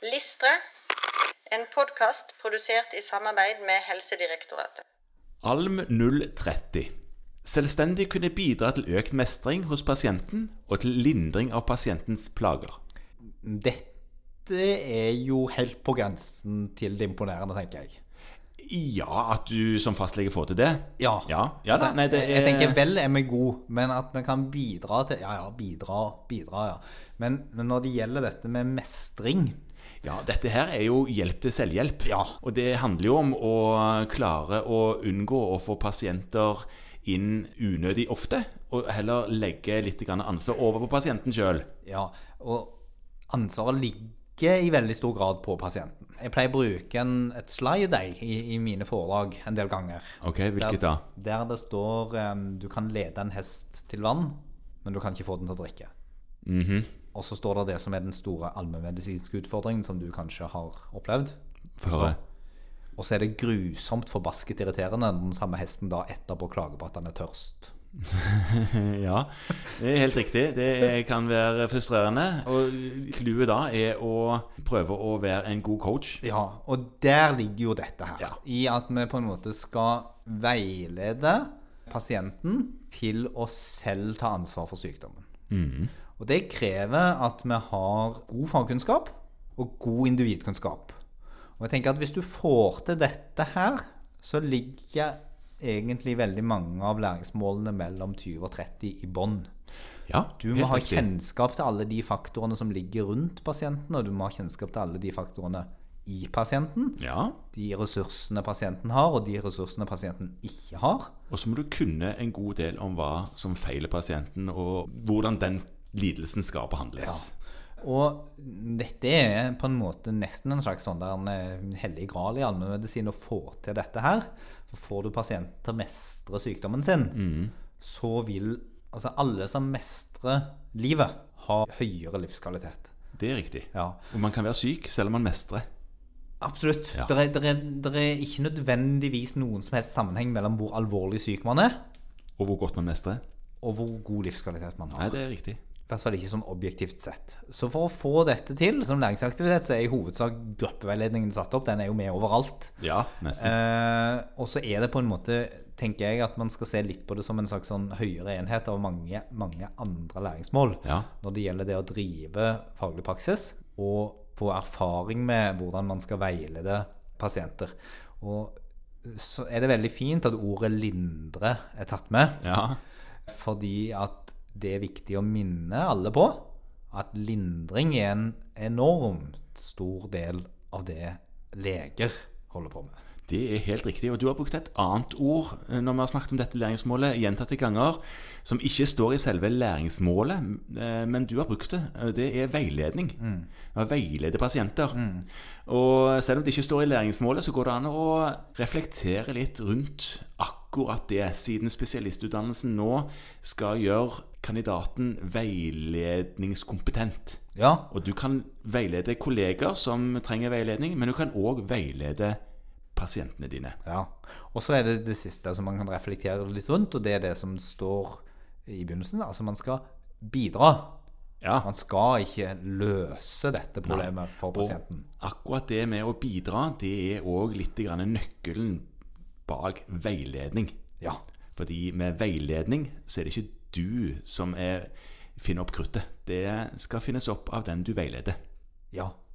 Listre, en podkast produsert i samarbeid med Helsedirektoratet. ALM 030. Selvstendig kunne bidra til økt mestring hos pasienten og til lindring av pasientens plager. Dette er jo helt på grensen til det imponerende, tenker jeg. Ja, at du som fastlege får til det? Ja. Ja, ja da, Altså, nei, det Jeg er tenker vel er vi gode, men at vi kan bidra til Ja, ja, bidra, bidra, ja. Men, men når det gjelder dette med mestring Ja, dette her er jo hjelp til selvhjelp. Ja. Og det handler jo om å klare å unngå å få pasienter inn unødig ofte, og heller legge litt grann ansvar over på pasienten sjøl. Ja, og ansvaret ligger i veldig stor grad på pasienten. Jeg pleier å bruke en, et slide jeg, i, i mine foredrag en del ganger. Ok, hvilket da? der, der det står em, du kan lede en hest til vann, men du kan ikke få den til å drikke. Mhm. Og så står det det som er den store allmennmedisinske utfordringen som du kanskje har opplevd. For, Og så er det grusomt forbasket irriterende når den samme hesten da etterpå klager på at han er tørst. ja, det er helt riktig. Det kan være frustrerende. Og clouet da er å prøve å være en god coach. Ja, og der ligger jo dette her. Ja. I at vi på en måte skal veilede pasienten til å selv ta ansvar for sykdommen. Og det krever at vi har god fagkunnskap og god individkunnskap. Og jeg tenker at hvis du får til dette her, så ligger egentlig veldig mange av læringsmålene mellom 20 og 30 i bånn. Ja, Du må helt ha riktig. kjennskap til alle de faktorene som ligger rundt pasienten, og du må ha kjennskap til alle de faktorene i pasienten. Ja, De ressursene pasienten har, og de ressursene pasienten ikke har. Og så må du kunne en god del om hva som feiler pasienten, og hvordan den lidelsen skal behandles. Og dette er på en måte nesten en slags sånn der en eh, hellig gral i allmennmedisin å få til dette her. For får du pasienten til å mestre sykdommen sin, Mm. så vil altså alle som mestrer livet, ha høyere livskvalitet. Det er riktig. Ja. Og man kan være syk selv om man mestrer. Absolutt. Ja. Det, er, der er, der er ikke nødvendigvis noen som helst sammenheng mellom hvor alvorlig syk man er, Og hvor godt man mestrer. og hvor god livskvalitet man har. Nei, det er riktig. I hvert fall ikke sånn objektivt sett. Så for å få dette til som læringsaktivitet, så er i hovedsak gruppeveiledningen satt opp. Den er jo med overalt. Ja, nesten. Eh, og så er det på en måte, tenker jeg, at man skal se litt på det som en slags sånn høyere enhet av mange, mange andre læringsmål. Ja. Når det gjelder det å drive faglig praksis og få erfaring med hvordan man skal veilede pasienter. Og så er det veldig fint at ordet 'lindre' er tatt med. Ja. Fordi at det er viktig å minne alle på at lindring er en enormt stor del av det leger holder på med. Det er helt riktig. Og du har brukt et annet ord eh, når vi har snakket om dette læringsmålet gjentatte ganger, som ikke står i selve læringsmålet, eh, men du har brukt det. Eh, Det er veiledning. Å veilede pasienter. Og selv om det ikke står i læringsmålet, så går det an å reflektere litt rundt akkurat det, siden spesialistutdannelsen nå skal gjøre kandidaten veiledningskompetent. Ja, Og du kan veilede kolleger som trenger veiledning, men du kan òg veilede pasientene dine. ja. Og så er det det siste som man kan reflektere litt rundt, og det er det som står i begynnelsen. Altså, man skal bidra. Ja. Man skal ikke løse dette problemet for pasienten. Akkurat det med å bidra, det er òg litt grann nøkkelen bak veiledning. Ja. Fordi med veiledning så er det ikke du som er, finner opp kruttet. Det skal finnes opp av den du veileder. ja.